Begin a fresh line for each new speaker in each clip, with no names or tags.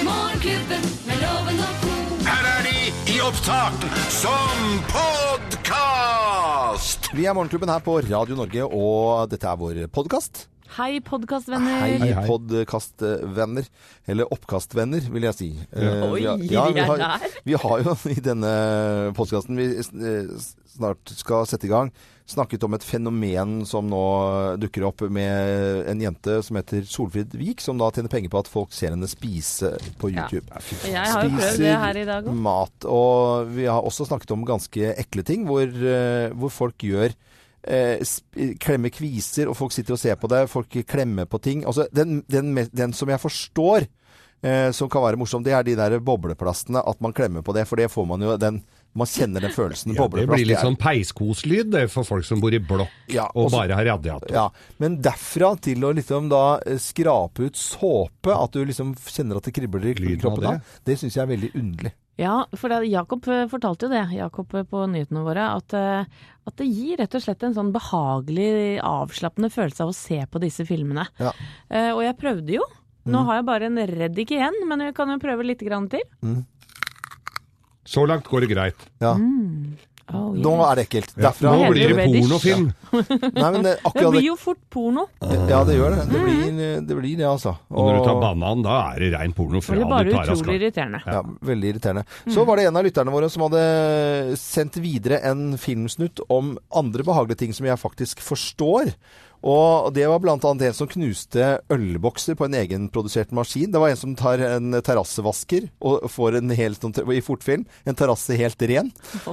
Morgenklubben med loven og ko.
Her er de i opptak som podkast!
Vi er Morgenklubben her på Radio Norge, og dette er vår podkast.
Hei, podkastvenner.
Hei,
Hei.
hei.
podkastvenner. Eller oppkastvenner, vil jeg si. Eh,
Oi,
vi har,
vi er
har,
der.
vi har jo i denne podkasten vi eh, snart skal sette i gang, snakket om et fenomen som nå dukker opp med en jente som heter Solfrid Vik, som da tjener penger på at folk ser henne spise på
Ja.
YouTube.
Jeg har jo prøvd det her i dag òg.
mat. Og vi har også snakket om ganske ekle ting, hvor, eh, hvor folk gjør eh, sp- klemmer kviser, og folk sitter og ser på det. Folk klemmer på ting. Altså, den, den, me- den som jeg forstår eh, som kan være morsom, det er de der bobleplastene. At man klemmer på det, for det får man jo den Man kjenner den følelsen.
Ja, det
bobleplast.
blir litt
er-
sånn peiskoslyd det, for folk som bor i blokk
Ja,
og
også-
bare har radiator.
Ja, Men derfra til å liksom da eh, skrape ut såpe, at du liksom kjenner at det kribler i
Lyden av
kroppen da,
det.
det syns jeg er veldig underlig.
Ja, for det, Jakob eh, fortalte jo det, Jakob eh, på nyhetene våre, at, eh, at det gir rett og slett en sånn behagelig, avslappende følelse av å se på disse filmene.
Ja.
Eh, og jeg prøvde jo. Nå har jeg bare en reddik igjen, men vi kan jo prøve litt grann til.
Så langt går det greit.
Ja.
Oh,
Nå
yes.
er det ekkelt.
Ja,
Derfra
Nå
Helt
blir det
rubedish.
pornofilm.
Nei, men det,
Det
akkurat
blir jo fort porno.
Ja, det gjør det. Det blir det, blir det altså.
Og når du tar
Og-
banan, da er det rein porno
Det
fra
blir
du
bare
tar av
utrolig
skapet.
irriterende.
ja, veldig irriterende. Så var det en av lytterne våre som hadde sendt videre en filmsnutt om andre behagelige ting som jeg faktisk forstår. Og det var blant annet en som knuste ølbokser på en egenprodusert maskin. Det var en som tar en terrassevasker og får en hel, sånn- i fortfilm, en terrasse helt ren.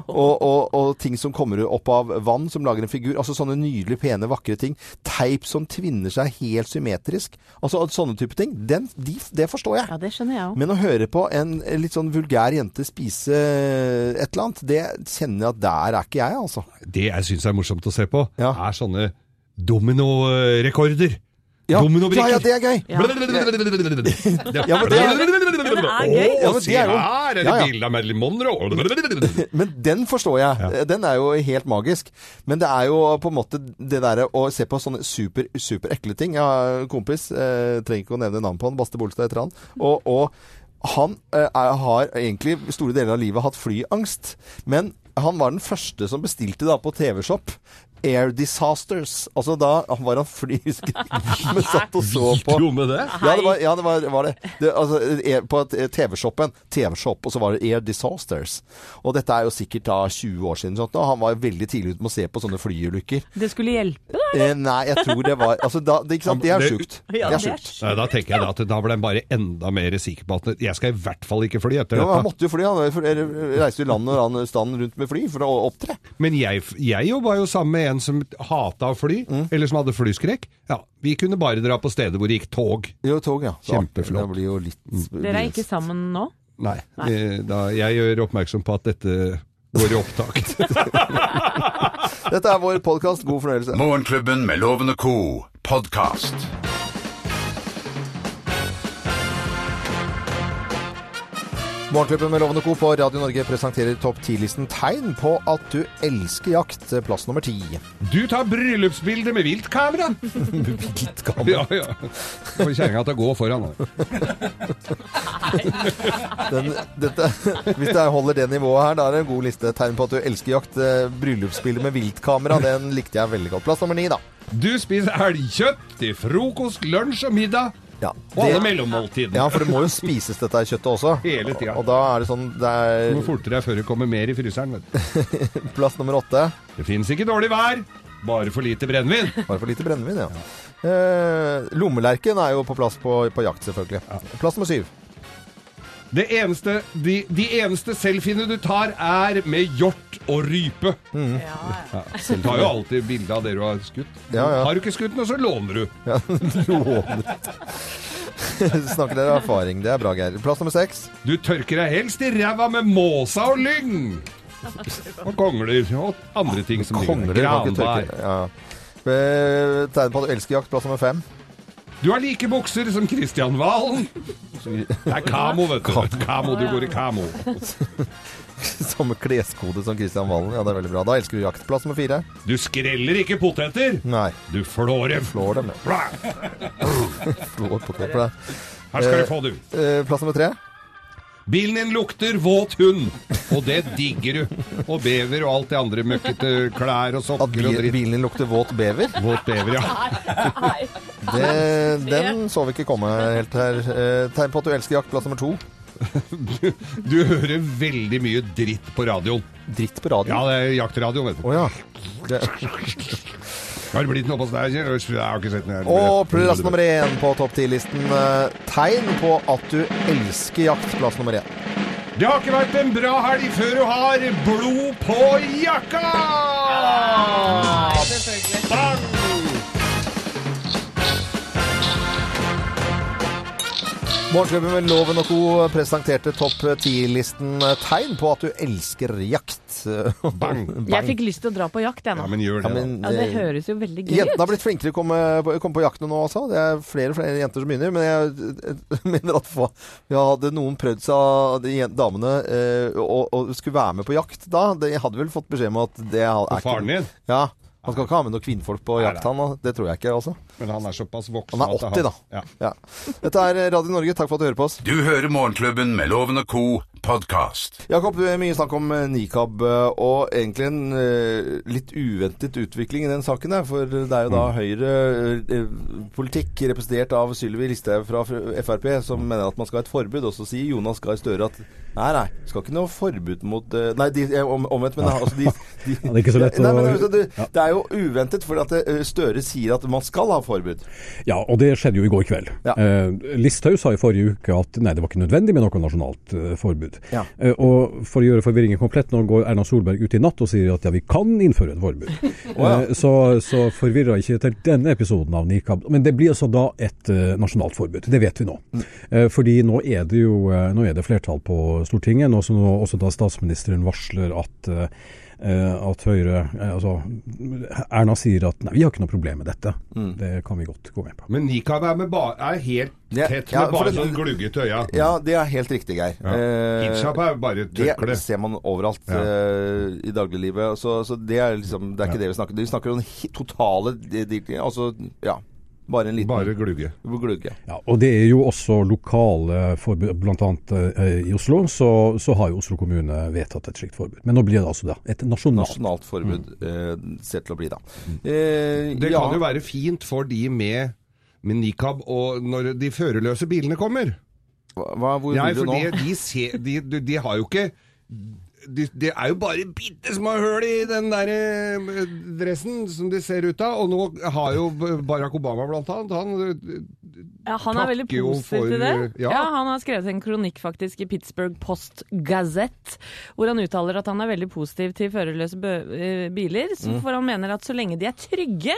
Og, og, og ting som kommer opp av vann som lager en figur. Altså sånne nydelig pene, vakre ting. Teip som tvinner seg helt symmetrisk. Altså sånne type ting. Den, de, det forstår jeg.
Ja, det skjønner jeg òg.
Men å høre på en litt sånn vulgær jente spise eh, et eller annet, det kjenner jeg at der er ikke jeg, altså.
Det jeg syns er morsomt å se på,
Ja.
er sånne dominorekorder.
Ja, ja,
Dominobrikker.
ja, det er gøy! Ja,
Ja.
men det,
Men det er gøy.
Ja, men
Å,
det
se
er jo-
her, er det
Ja, ja.
bilde av Marilyn Monroe?
men den forstår jeg. Den er jo helt magisk. Men det er jo på en måte det derre å se på sånne super, super ekle ting. Jeg har en kompis, eh, trenger ikke å nevne navnet på han, Baste Bolstad heter han. Og, og han eh, er, har egentlig store deler av livet hatt flyangst. Men han var den første som bestilte da på TV-shop. Air Disasters. Altså da han var han fly, husker jeg. Men satt og så på.
Video med det?
Ja, det var, ja, det var, var det. det altså, eh, på et- eh, TV-shoppen, TV-shop, og så var det Air Disasters. Og dette er jo sikkert da 20 år siden, sånt, og han var veldig tidlig ute med å se på sånne flyulykker.
Det skulle hjelpe, da.
Eh, nei, jeg tror det var altså, da, det, Ikke sant, det er
Det-
sjukt. Det
Ja,
er
det er
sjukt.
Nei, Da tenker jeg da at da ble han bare enda mer sikker på at jeg skal i hvert fall ikke fly etter
Ja, men han
dette.
måtte jo fly, han reiste jo land og land- stand rundt med fly for å opptre.
Men jeg, jeg jo var jo sammen med en som hata å fly, eller som hadde flyskrekk. Ja, vi kunne bare dra på steder hvor det gikk tog.
Jo, tog, ja. Så artig.
Kjempeflott.
Det blir jo litt
Dere er ikke sammen nå?
Nei, eh, Da, jeg gjør oppmerksom på at dette går i opptak.
Dette er vår podkast. God fornøyelse.
Morgenklubben med Loven og Co. podkast.
Morgenklubben med Lovende Co. på Radio Norge presenterer topp 10-listen tegn på at du elsker jakt. Plass nummer ti.
Du tar bryllupsbilder med viltkamera! Ja, ja. Får kjerringa til å gå foran. da.
Den, dette, hvis det holder det nivået her, da er det en god liste. Tegn på at du elsker jakt. Eh, Bryllupsbildet med viltkamera, den likte jeg veldig godt. Plass nummer ni, da.
Du spiser elgkjøtt til frokost, lunsj og middag.
Ja,
Og alle
det,
mellommåltidene.
ja, for det må jo spises dette her kjøttet også.
Hele tida.
Og da er det sånn Det
Det Må
er
fortere før det kommer mer i fryseren. Vet du.
plass nummer åtte.
Det fins ikke dårlig vær, bare for lite brennevin.
Bare for lite brennevin, ja. Eh, lommelerken er jo på plass på, på jakt, selvfølgelig. Plass nummer syv.
Det eneste, de, de eneste selfiene du tar, er med hjort og rype. Du tar jo alltid bilde av det du har skutt.
Ja, ja.
Har du ikke skutt noe, så låner du.
Snakker dere av erfaring. Det er bra, Geir. Plass nummer seks.
Du tørker deg helst i ræva med måsa og lyng. Og kongler og andre ting som ligger der.
Kongler kan ikke
Granbær.
tørke. Ja. Eh, Tegn på at du elsker jakt. Plass nummer fem.
Du har like bukser som Kristian Valen. Det er kamo, vet du. Kamo, Du går i kamo.
Samme kleskode som Kristian Valen. Ja, det er veldig bra. Da elsker du jakt. Plass nummer fire.
Du skreller ikke poteter.
Nei.
Du flår dem.
Flår dem, ja.
Her
Flår på knepper der.
skal du få, du.
Eh, Plass nummer tre.
Bilen din lukter våt hund, og det digger du. Og bever og alt det andre møkkete klær og
At
sokker
bi-
og dritt.
bilen din lukter våt bever?
Våt bever, ja.
Det, den så vi ikke komme helt her. Eh, tegn på at du elsker jakt, plass nummer to.
Du hører veldig mye dritt på radioen.
Dritt på
Ja,
radioen.
det er jaktradioen, vet
Å
du.
ja. Det.
Har det blitt noe på deg? Jeg har ikke sett den. her.
Og plass nummer én på topp ti-listen. eh, Tegn på at du elsker jakt, plass nummer én.
Det har ikke vært en bra helg før du har blod på jakka! Bang!
Morgenklubben med Loven og Co. presenterte topp ti-listen Eh, tegn på at du elsker jakt.
Bang!
Jeg fikk lyst til å dra på jakt, jeg
Ja,
nå.
men gjør
Ja,
det.
men,
Ja, det
eh,
høres jo veldig gøy
Jentene har
ut.
blitt flinkere til å komme, komme på jaktene nå også. Det er flere og flere jenter som begynner. Men jeg eh, mener at fa- ja, hadde noen prøvd seg av de jen- damene eh, og, og skulle være med på jakt da, de hadde vel fått beskjed om at det ha- er
Og faren din?
Ja. Han skal ikke ha med noen kvinnfolk på jakt, han. og Det tror jeg ikke, altså.
Men han er såpass voksen
Han er
at
80, da.
Ja.
Ja. Dette er Radio Norge, takk for at du hører på oss.
Du hører Morgenklubben med Loven og Co. podkast.
Jakob, det er mye snakk om eh, nikab, eh, og egentlig en eh, litt uventet utvikling i den saken. Der, for det er jo
Mm.
da Høyre-politikk representert av Sylvi Listhaug fra Fr- Frp, som
Mm.
mener at man skal ha et forbud. Og så sier Jonas Gahr Støre at nei, nei, skal ikke noe forbud mot eh, Nei, de, eh, om, omvendt, men altså de, de
Ja, det er ikke så lett
nei, men,
å-
altså, det,
Ja.
det er jo uventet, for at eh, Støre sier at man skal ha forbud.
Ja, og det skjedde jo i går kveld.
Ja.
Eh, Listhaug sa i forrige uke at nei, det var ikke nødvendig med noe nasjonalt eh, forbud.
Ja.
Eh, og for å gjøre forvirringen komplett, nå går Erna Solberg ut i natt og sier at ja, vi kan innføre et forbud.
Å, ja.
Eh, så, så forvirra ikke til denne episoden av Nikab. Men det blir altså da et eh, nasjonalt forbud. Det vet vi nå.
Mm.
Eh, fordi nå er det jo eh, nå er det flertall på Stortinget, nå som nå også da statsministeren varsler at eh, eh, at Høyre eh, altså Erna sier at nei, vi har ikke noe problem med dette. Det kan vi godt gå med på.
Men nikab er, med ba- er helt
Ja,
tett med
ja, for
bare
det-
sånn gluggete øya.
Ja, det er helt riktig, Geir.
Ja.
Eh,
Hijab er bare et tørkle.
Det ser man overalt
Ja.
eh, i dagliglivet. Så, så det er liksom Det er ikke det vi snakker om. Vi snakker om den hi- totale di- di- Altså, ja. Bare en liten
Bare glugge.
glugge.
Ja, og det er jo også lokale forbud, bl.a. eh, i Oslo, så, så har jo Oslo kommune vedtatt et slikt forbud. Men nå blir det altså da et nasjonalt
Nasjonalt forbud eh, ser til å bli, da. Eh,
Mm. Det
ja.
kan jo være fint for de med, med nikab og når de førerløse bilene kommer.
Hva, hvor
Nei, for
vil du nå?
de, de, ser, de, de, de har jo ikke de, det er jo bare bitte små høl i den der eh, dressen som de ser ut av. Og nå har jo Barack Obama blant annet Han
Ja, han er veldig
takker jo
positiv
for,
til det.
ja.
Ja. Han har skrevet en kronikk faktisk i Pittsburgh Post Gazette, hvor han uttaler at han er veldig positiv til førerløse bø- eh, biler, så-
Mm.
for han mener at så lenge de er trygge,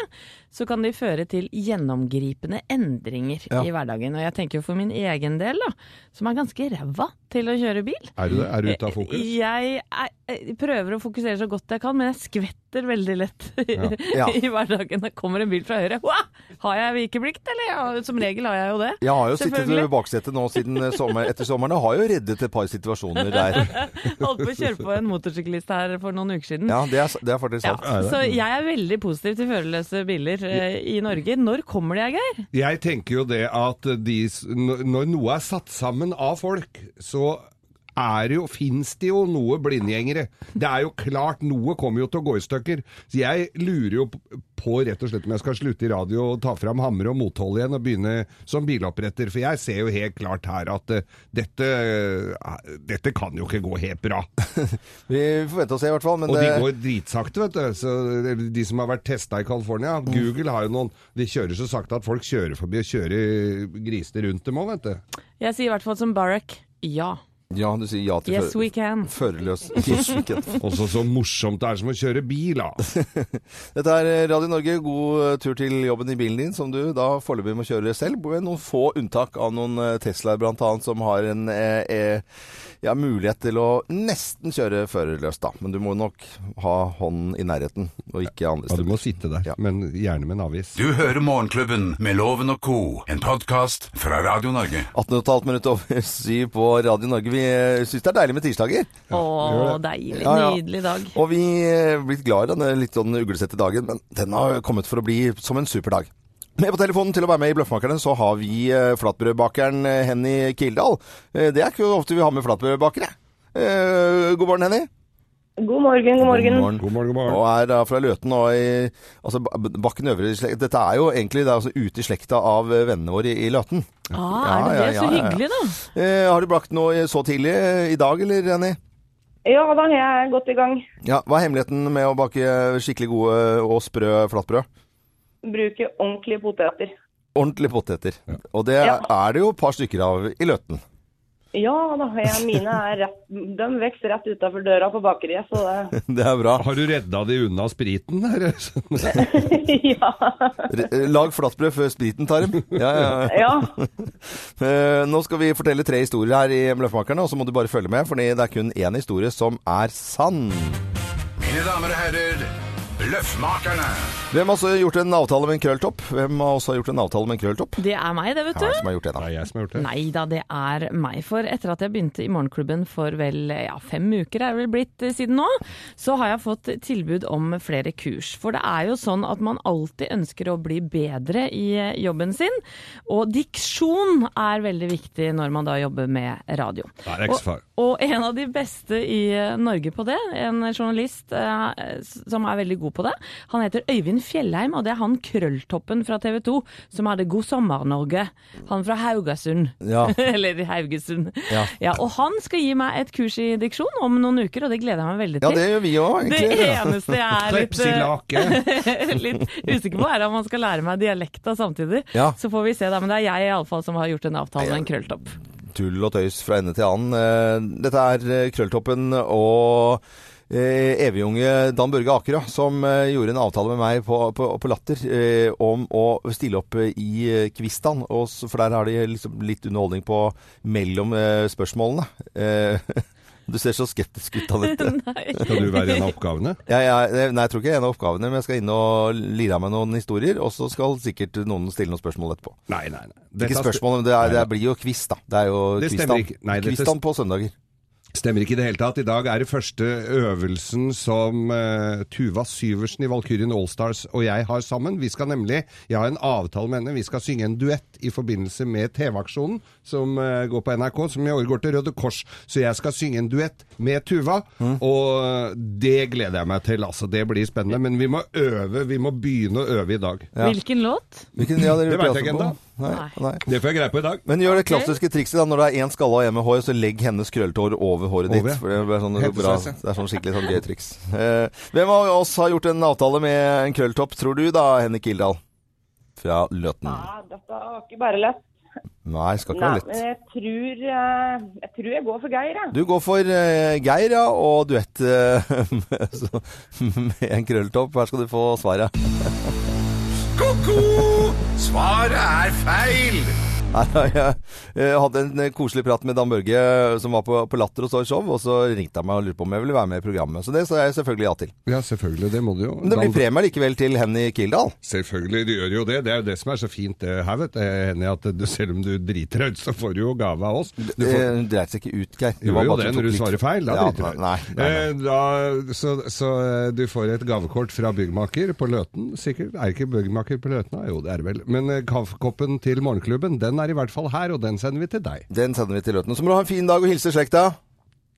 så kan de føre til gjennomgripende endringer i hverdagen. Og jeg tenker jo for min egen del, da, som er ganske ræva til å kjøre bil.
Er du det? Er du ute av fokus?
Jeg er, jeg prøver å fokusere så godt jeg kan, men jeg skvetter veldig lett
Ja.
i hverdagen. Det kommer en bil fra høyre. Hua! Har jeg vikeplikt, eller? Ja, som regel har jeg jo det.
Jeg har jo sittet i
Selvfølgelig.
baksetet nå siden eh, sommer, etter sommeren og har jo reddet et par situasjoner der.
Holdt på å kjøre på en motorsyklist her for noen uker siden.
Ja, det er, det er faktisk
Ja,
sant.
så jeg er veldig positiv til førerløse biler eh, i Norge. Når kommer de, Geir?
Jeg tenker jo det at de, s- n- når noe er satt sammen av folk, så er det jo, finnes det jo noe blindgjengere. Det er jo klart, noe kommer jo til å gå i stykker. Så jeg lurer jo p- på rett og slett om jeg skal slutte i radio og ta fram hammer og mothold igjen og begynne som biloppretter. For jeg ser jo helt klart her at eh, dette, eh, dette kan jo ikke gå helt bra.
Vi får vente og se, i hvert fall. Men
Og de
det,
går dritsakte, vet du. Så de som har vært testa i California. Google har jo noen De kjører så sakte at folk kjører forbi og kjører grisene rundt dem òg, vet du.
Jeg sier i hvert fall som Barack. Ja.
ja, du sier ja til
Yes, we can.
førerløs Yes, we can.
Også så morsomt det er som å kjøre bil, da.
Dette er eh, Radio Norge. God eh, tur til jobben i bilen din, som du da foreløpig må kjøre selv. Med noen få unntak av noen eh, Teslaer bl.a., som har en eh, eh, ja, mulighet til å nesten kjøre førerløst, da. Men du må nok ha hånden i nærheten, og ikke andre
Ja, du
steder.
må sitte der,
Ja.
men gjerne med en avis.
Du hører Morgenklubben med Loven og Co. en podkast fra Radio Norge.
18,5 minutter over syv på Radio Norge. Vi eh, syns det er deilig med tirsdager.
Å, deilig.
Ja, ja.
Nydelig dag.
Og vi eh, er blitt glad i denne litt sånn uglesette dagen, men den har kommet for å bli som en superdag. Med på telefonen til å være med i Bløffmakerne så har vi eh, flatbrødbakeren eh, Henny Kildahl. Eh, Det er ikke ofte vi har med flatbrødbakere. Eh, God morgen, Henny.
God morgen, god morgen.
God morgen, god morgen.
Og er da fra Løten og i altså, Ba- Bakken øvre slekt. Dette er jo egentlig det er altså ute i slekta av eh, vennene våre i, i Løten.
Ah, er
Ja,
det det?
ja,
Så
ja, ja.
hyggelig, da.
Eh, Har du brakt noe eh, så tidlig eh, i dag, eller, Henny?
Ja da, jeg er godt i gang.
Ja, Hva er hemmeligheten med å bake skikkelig gode eh, og sprø flatbrød?
Bruker ordentlige poteter.
Ordentlige poteter. Og det
Ja.
er det jo et par stykker av i Løten.
Ja da, jeg, mine er rett, de vokser rett utafor døra på bakeriet, så det
Det er bra.
Har du redda de unna spriten der?
Ja.
R- eh, Lag flatbrød før spriten tar dem. Ja, ja, ja.
ja.
Eh, Nå skal vi fortelle tre historier her i Bløffmakerne, og så må du bare følge med, for det er kun én historie som er sann.
Mine damer og herrer, Løffmakerne.
Hvem har også gjort en avtale med en krølltopp? Hvem har også gjort en avtale med en krølltopp?
Det er meg, det, vet
Ja,
du.
som har gjort det,
Det
da.
er jeg som har gjort det.
Nei da, det er meg. For etter at jeg begynte i morgenklubben for vel ja, fem uker, er det vel blitt eh, siden nå, så har jeg fått tilbud om flere kurs. For det er jo sånn at man alltid ønsker å bli bedre i eh, jobben sin. Og diksjon er veldig viktig når man da jobber med radio.
Det er X-File.
Og, og en av de beste i eh, Norge på det, en journalist eh, s- som er veldig god på det, han heter Øyvind Fjellheim, og det er han krølltoppen fra TV 2 som hadde God sommer, Norge. Han fra Haugasund.
Ja.
Eller i Haugesund.
Ja.
og han skal gi meg et kurs i diksjon om noen uker, og det gleder jeg meg veldig
Ja,
til.
det gjør vi òg,
det
egentlig.
eneste jeg er litt, eh,
Tepsilake.
litt usikker på, er om han skal lære meg dialekta samtidig.
Ja.
Så får vi se, da. Men det er jeg iallfall som har gjort en avtale med en krølltopp.
tull og tøys fra ende til annen. Eh, Dette er eh, Krølltoppen og eh, evigunge Dan Børge Akerø som eh, gjorde en avtale med meg på, på, på Latter eh, om å stille opp eh, i eh, Kvistan, og s- for der har de liksom litt underholdning på mellom eh, spørsmålene. Eh, Du ser så skeptisk ut, Anette.
Nei.
Skal du være en av oppgavene?
Jeg, jeg, nei, jeg tror ikke det er en av oppgavene, men jeg skal inn og lire av meg noen historier, og så skal sikkert noen stille noen spørsmål etterpå.
Nei, nei, nei.
Ikke
Dette
spørsmål, men det, er, det blir jo quiz, da. Det er jo
Det stemmer
Kvistan.
ikke. Nei, dette-
Kvistan på søndager.
Stemmer ikke i det hele tatt. I dag er det første øvelsen som eh, Tuva Syversen i Valkyrien Allstars og jeg har sammen. Vi skal nemlig, jeg har en avtale med henne, vi skal synge en duett i forbindelse med TV-aksjonen som eh, går på NRK, som i år går til Røde Kors. Så jeg skal synge en duett med Tuva, og eh, det gleder jeg meg til. Altså, det blir spennende. Men vi må øve, vi må begynne å øve i dag.
Hvilken låt?
Hvilken, ja,
Det vet jeg ikke ennå.
Nei, nei.
Det får jeg greie på i dag.
Men gjør det klassiske trikset da, når det er én skalle og én med hår, så legg hennes krølltår over håret
Over, ja.
ditt. For det, blir sånn,
Helt
bra,
precis, ja.
det er sånn skikkelig sånn gøy triks. Eh, hvem av oss har gjort en avtale med en krølltopp, tror du da, Henrik Kildahl? Fra Løten.
ja dette var ikke bare lett.
Nei, skal ikke
Nei,
være
men
lett.
jeg tror, eh, jeg tror jeg går for Geir, jeg.
Du går for eh, Geir, ja, og duett eh, med, så, med en krølltopp. Her skal du få svaret.
Ko-ko! Svaret er feil!
Nei, jeg, eh, hadde en eh, koselig prat med Dan Børge, eh, som var på, på Latter og så i show, og så ringte han meg og lurte på om jeg ville være med i programmet. Så det sa jeg selvfølgelig ja til.
Ja, selvfølgelig. Det må du jo.
Men det blir premie likevel til Henny Kildahl.
Selvfølgelig, du gjør jo det. Det er jo det som er så fint det her, vet du. Jeg er enig i at du, selv om du driter deg ut, så får du jo gave av oss. Du
Det
får,
Eh, dreit seg ikke ut, Geir. Det
gjør
var
jo
bare
det når
at tok
du
litt-
svarer feil. Da
Ja,
driter du
nei,
deg ut.
nei, nei.
Eh, da- Så, så eh, du får et gavekort fra byggmaker på Løten, sikkert. Er ikke byggmaker på Løten? Ah, Jo, det er det vel. Men eh, kaffekoppen til morgenklubben, den er i hvert fall her, og den sender vi til deg.
Den sender vi til Løten. Så må du ha en fin dag og hilse slekta.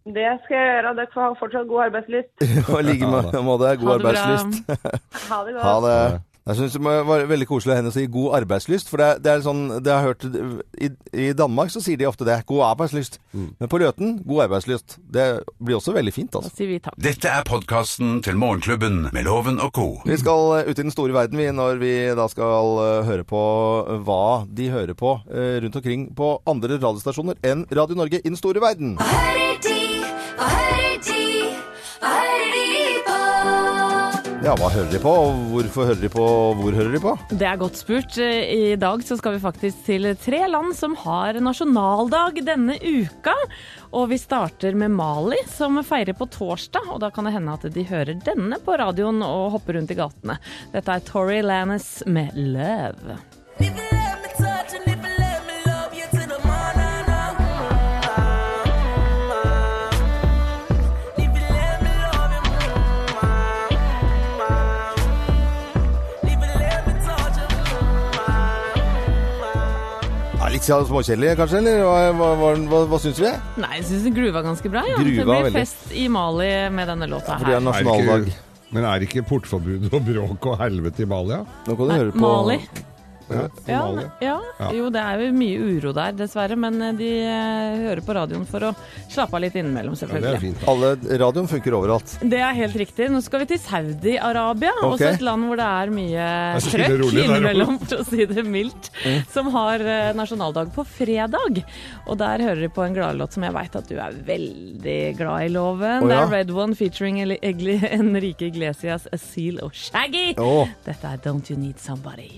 Det skal jeg gjøre. Dere får ha fortsatt god arbeidslyst.
Og i like må- måte. God
Ha det bra.
arbeidslyst.
Ha det godt.
Ha det. Jeg syns det var veldig koselig av henne å si 'god arbeidslyst', for det er, det er sånn det har jeg hørt, i, I Danmark så sier de ofte det. 'God arbeidslyst'.
Mm.
Men på Løten 'god arbeidslyst'. Det blir også veldig fint, altså.
Da sier vi takk.
Dette er podkasten til Morgenklubben med Loven og co.
Vi skal eh, ut i den store verden vi, når vi da skal eh, høre på hva de hører på eh, rundt omkring på andre radiostasjoner enn Radio Norge i den store verden.
Hva hører de? Hva hører de? Hva hører de på?
Ja, hva hører de på? og Hvorfor hører de på? og Hvor hører de på?
Det er godt spurt. Eh, I dag så skal vi faktisk til tre land som har nasjonaldag denne uka. Og vi starter med Mali, som feirer på torsdag. Og da kan det hende at de hører denne på radioen og hopper rundt i gatene. Dette er Tori Lannis med 'Love'.
If you let me touch and if you let me love you till the morning, oh, mm, ah, mm, ah. If you let me love you, uh, mm, ah, mm, ah. If you let me touch you, mm, ah,
Pizza småkjedelig, kanskje? Eller hva, hva, hva, hva, hva syns vi?
Nei, jeg syns Gruva er ganske bra. Ja.
Gruva
det blir
veldig.
fest i Mali med denne låta
For det er
her.
Er det
nasjonaldag.
ikke- Men er det ikke portforbud og bråk og helvete i Malia?
Nå kan du høre på
Mali.
Ja,
Ja,
Malia.
ne- ja.
Ja.
Jo, det er jo mye uro der, dessverre. Men eh, de eh, hører på radioen for å slappe av litt innimellom,
ja det er
selvfølgelig.
fint. da.
Alle, radioen funker overalt.
det er helt riktig. Nå skal vi til Saudi-Arabia.
Ok.
Også et land hvor det er mye
Det er så stille og
trøkk
rolig der
innimellom, for å si det mildt. Som har eh, nasjonaldag på fredag. Og der hører de på en gladlåt som jeg veit at du er veldig glad i, Loven.
Å,
Det
ja.
er Red One featuring Eli- Egli- Enrique Iglesias, Asil og Shaggy.
Å.
Dette er Don't You Need Somebody.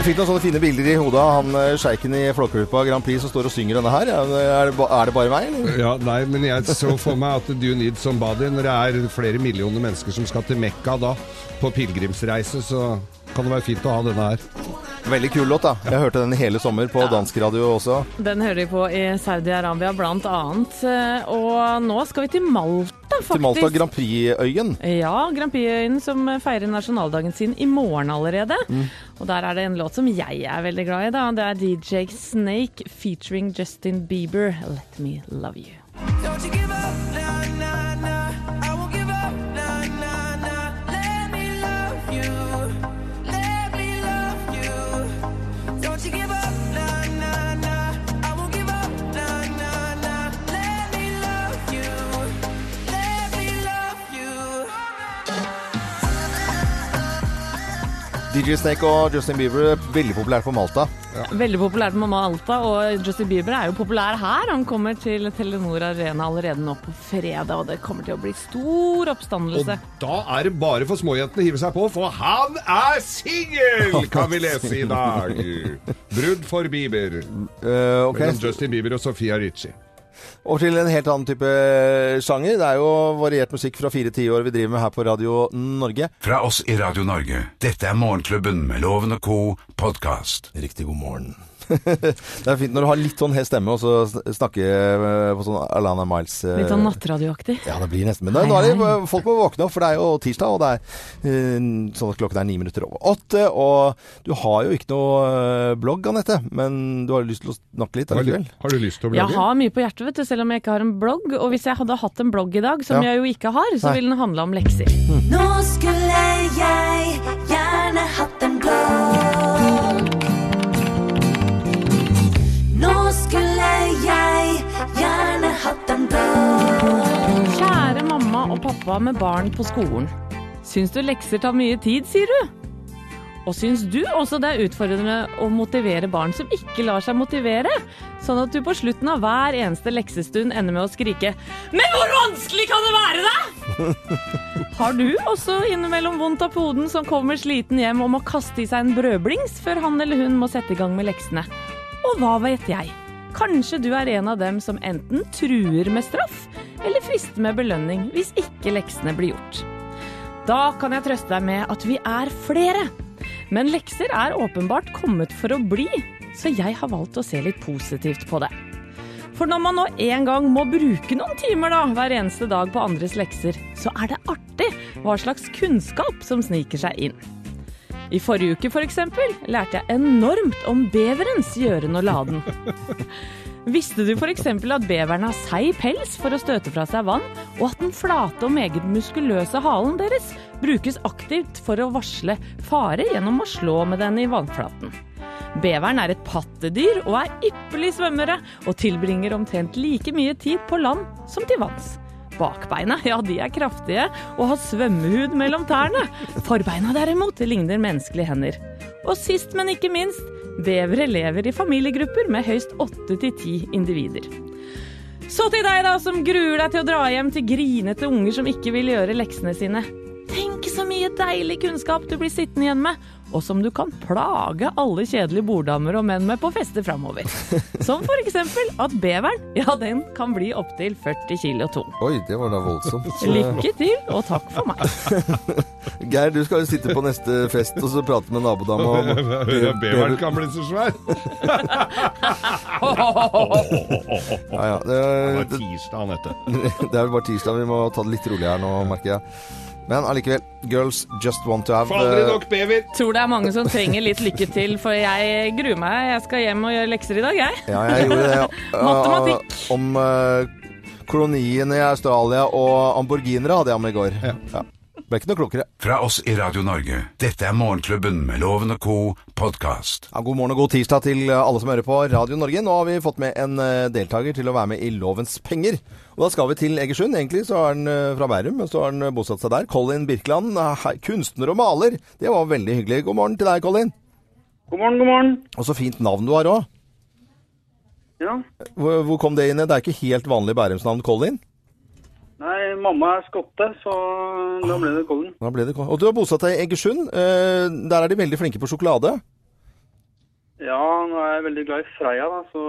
Vi fikk noen sånne fine bilder i hodet av han eh, sjeiken i Flåklypa Grand Prix som står og synger denne her. Er det, ba- er det bare meg, eller?
Ja, nei, men jeg så for meg at Do You Need Somebody Når det er flere millioner mennesker som skal til Mekka da på pilegrimsreise, så kan det være fint å ha denne her.
Veldig kul låt, da. Jeg hørte den i hele sommer på dansk radio også.
Den hører vi på i Saudi-Arabia blant annet. Eh, Og nå skal vi til Malta, faktisk.
Til Malta Grand Prix-øyen.
Ja, Grand Prix-øyen som feirer nasjonaldagen sin i morgen allerede. Og der er det en låt som jeg er veldig glad i, da. Det er DJ Snake featuring Justin Bieber, 'Let Me Love You'.
Don't you give up, nah, nah, nah. I won't give up, nah, nah, nah. Let me love you. Let me love you. Don't you give up, nah, nah, nah. I won't give up, nah, nah, nah. Let me love you. Let me love you.
DJ Snake og Justin Bieber er veldig populært på Malta.
Veldig populær på Mamma Alta, og Justin Bieber er jo populær her. Han kommer til Telenor Arena allerede nå på fredag, og det kommer til å bli stor
Og
eh,
oppstandelse.
da er det bare for småjentene å hive seg på, for han er singel, kan vi lese i dag. Brudd for Bieber.
Eh, ok.
Mellom Justin Bieber og Sofia Ritchie.
Over til en helt annen type sjanger. Det er jo variert musikk fra fire tiår vi driver med her på Radio Norge.
Fra oss i Radio Norge. Dette er Morgenklubben med Loven og co. podkast.
Riktig god morgen. det er fint når du har litt sånn hes stemme, og så sn- snakke eh, på sånn Alana Miles eh,
Litt sånn nattradioaktig.
Ja, det blir nesten. Men da, da er det, folk må våkne opp, for det er jo tirsdag, og det er eh, sånn at klokken er ni minutter over åtte. Og du har jo ikke noe eh, blogg, Anette, men du har lyst til å snakke litt
Har du,
allikevel?
har du lyst til å
Jeg
blogge?
har mye på hjertet, vet du, selv om jeg ikke har en blogg. Og hvis jeg hadde hatt en blogg i dag, som
Ja.
jeg jo ikke har, så
Nei.
ville den handla om lekser.
Nå skulle jeg gjerne hatt en blogg. Nå skulle jeg gjerne hatt en blogg.
Kjære mamma og pappa med barn på skolen. Syns du lekser tar mye tid, sier du? Og syns du også det er utfordrende å motivere barn som ikke lar seg motivere? Sånn at du på slutten av hver eneste leksestund ender med å skrike Men hvor vanskelig kan det være, da?! Har du også innimellom vondt av poden som kommer sliten hjem og må kaste i seg en brødblings før han eller hun må sette i gang med leksene? Og hva vet jeg? Kanskje du er en av dem som enten truer med straff, eller frister med belønning hvis ikke leksene blir gjort. Da kan jeg trøste deg med at vi er flere. Men lekser er åpenbart kommet for å bli, så jeg har valgt å se litt positivt på det. For når man nå en gang må bruke noen timer da, hver eneste dag på andres lekser, så er det artig hva slags kunnskap som sniker seg inn. I forrige uke for eksempel lærte jeg enormt om beverens gjøren og laden. Visste du f.eks. at beveren har seig pels for å støte fra seg vann, og at den flate og meget muskuløse halen deres brukes aktivt for å varsle fare gjennom å slå med den i vannflaten? Beveren er et pattedyr og er ypperlig svømmere, og tilbringer omtrent like mye tid på land som til vanns. Bakbeina ja, de er kraftige og har svømmehud mellom tærne. Forbeina derimot ligner menneskelige hender. Og sist, men ikke minst, bevere lever i familiegrupper med høyst åtte til ti individer. Så til deg, da, som gruer deg til å dra hjem til grinete unger som ikke vil gjøre leksene sine. Tenk så mye deilig kunnskap du blir sittende igjen med, og som du kan plage alle kjedelige borddamer og menn med på fester framover. Som for eksempel at beveren, ja den kan bli opptil 40 kilo tung.
Oi, det var da voldsomt. Så-
Lykke til, og takk for meg.
Geir, du skal jo sitte på neste fest og så prate med nabodama om
Beveren kan bli så svær.
Ja, ja.
Det
Det,
var
det,
tirsdag, dette.
det er vel bare tirsdag, vi må ta det litt rolig her nå, merker jeg. Men allikevel, girls just want to have
Får aldri
eh,
nok bever.
Tror det er mange som trenger litt lykke til, for jeg gruer meg. Jeg skal hjem og gjøre lekser i dag, jeg.
eh, Ja, jeg gjorde det. ja.
Matematikk.
Eh, om eh, koloniene i Australia og amborginere hadde jeg med i går. Ja. Ble ikke noe klokere.
Fra oss i Radio Norge. Dette er Morgenklubben med Loven og co. podkast.
Ja, god morgen og god tirsdag til eh, alle som hører på Radio Norge. Nå har vi fått med en eh, deltaker til å være med i Lovens penger. Og da skal vi til Egersund. Egentlig så er han eh, fra Bærum, men så har han eh, bosatt seg der. Colin Birkeland, eh, hei, kunstner og maler. Det var veldig hyggelig. God morgen til deg, Colin.
God morgen, god morgen.
Og så fint navn du har òg.
Ja.
Hvor, hvor kom det inn? Det er ikke helt vanlig bærumsnavn, Colin.
Nei, mamma er skotte, så da ble det Colin.
Da ble det Colin. Og du har bosatt deg i Egersund. Eh, Der er de veldig flinke på sjokolade.
Ja, nå er jeg veldig glad i Freia, da, så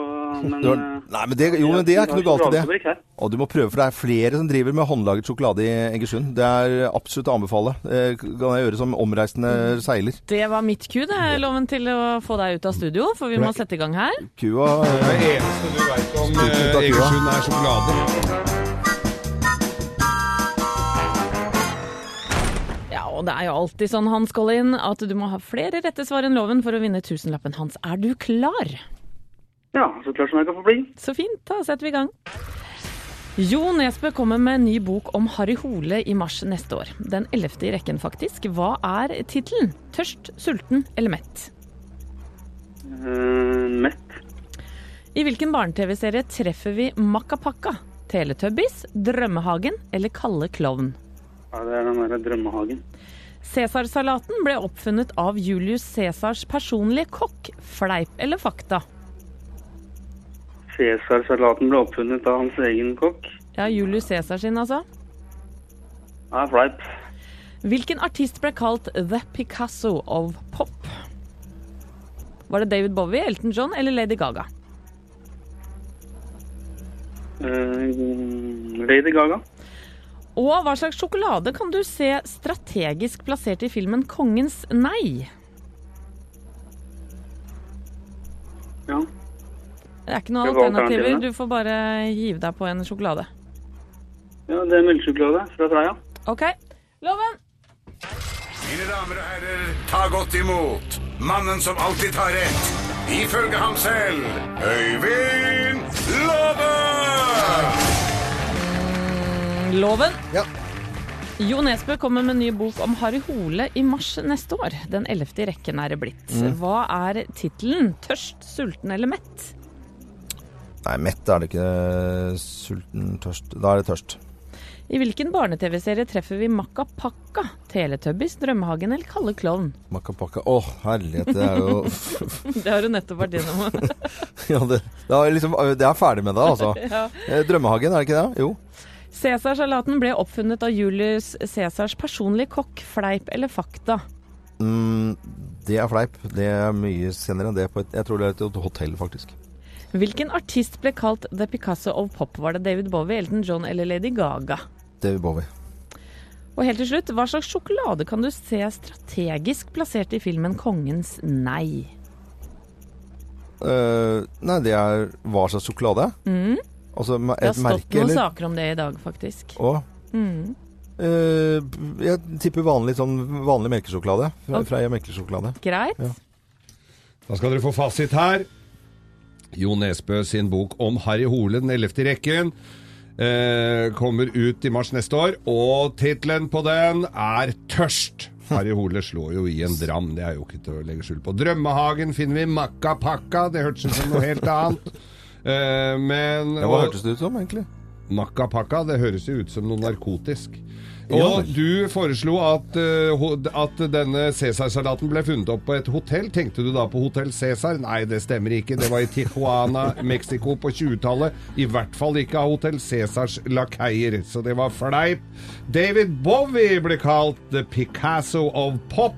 Men
Du har...
eh,
Nei, men det, jo, men det er ikke noe galt i det.
sjokoladefabrikk her.
Og du må prøve, for det er flere som driver med håndlaget sjokolade i Egersund. Det er absolutt å anbefale. Eh, Kan jeg gjøre som omreisende seiler.
Det var mitt ku, det, loven til å få deg ut av studio, for vi må sette i gang her.
Kua eh,
Det eneste du veit om
Stort ut av
eh,
kua.
Egersund, er sjokolade.
Ja, og det er jo alltid sånn, Hans Collin, at du må ha flere rette svar enn loven for å vinne tusenlappen hans. Er du klar?
Ja, så klart som jeg kan få bli.
Så fint, da setter vi i gang. Jo Nesbø kommer med en ny bok om Harry Hole i mars neste år. Den ellevte i rekken, faktisk. Hva er tittelen? Tørst, sulten eller mett?
Eh, mett.
I hvilken barne-TV-serie treffer vi Makapakka? Teletubbies, Drømmehagen eller Kalle klovn?
Ja, det er den derre drømmehagen.
Cæsarsalaten ble oppfunnet av Julius Cæsars personlige kokk. Fleip eller fakta?
Cæsarsalaten ble oppfunnet av hans egen kokk.
Ja, Julius Cæsar sin, altså.
Ja, fleip.
Hvilken artist ble kalt The Picasso of pop? Var det David Bowie, Elton John eller Lady Gaga?
Eh, Lady Gaga.
Og hva slags sjokolade kan du se strategisk plassert i filmen Kongens nei?
Ja.
Det er ikke noen
Det var
alternativer,
alternativet.
du får bare hive deg på en sjokolade.
ja, det er melkesjokolade fra Freia.
OK. Loven!
Mine damer og herrer, ta godt imot mannen som alltid tar rett. Ifølge ham selv Øyvind Låve!
Loven!
Ja.
Jo Nesbø kommer med en ny bok om Harry Hole i mars neste år. Den ellevte i rekken er det blitt. Hva er tittelen? Tørst, sulten eller mett?
Nei, mett er det ikke. Sulten, tørst Da er det tørst.
I hvilken barne-TV-serie treffer vi Makapakka, Teletubbies, Drømmehagen eller Kalle klovn?
Makapaka Å, herlighet, det er jo
Det har du nettopp vært innom.
ja, det, det, er liksom, det er ferdig med det, altså.
ja.
Eh, Drømmehagen, er det ikke det? Jo.
Cæsarsalaten ble oppfunnet av Julius Cæsars personlige kokk. Fleip eller fakta?
Mm, det er fleip. Det er mye senere enn det. På et, jeg tror det er et hotell, faktisk.
Hvilken artist ble kalt The Picasso of Pop? Var det David Bowie, Elton John eller Lady Gaga?
David Bowie.
Og helt til slutt, hva slags sjokolade kan du se strategisk plassert i filmen Kongens nei?
Eh, nei, det er hva slags sjokolade? Altså ma-
Det har
et
stått
merke,
noen
eller?
saker om det i dag, faktisk.
Å. Eh, b- jeg tipper vanlig, sånn, vanlig melkesjokolade. Fra,
Ok.
Freia melkesjokolade.
Greit.
Ja.
Da skal dere få fasit her. Jo Nesbø sin bok om Harry Hole, den 11. i rekken, eh, kommer ut i mars neste år. Og tittelen på den er Tørst. Harry Hole slår jo i en dram, det er jo ikke til å legge skjul på. Drømmehagen finner vi Makka Pakka, det hørtes ut som noe helt annet. Eh, men
Ja, hva hørtes det ut som, egentlig?
Makka pakka, det høres jo ut som noe narkotisk. Og du foreslo at, eh, ho- at denne Cæsarsalaten ble funnet opp på et hotell. Tenkte du da på Hotell Cæsar? Nei, det stemmer ikke. Det var i Tijuana, Mexico på 20-tallet. I hvert fall ikke av Hotell Cæsars lakeier, så det var fleip. David Bowie ble kalt The Picasso of Pop.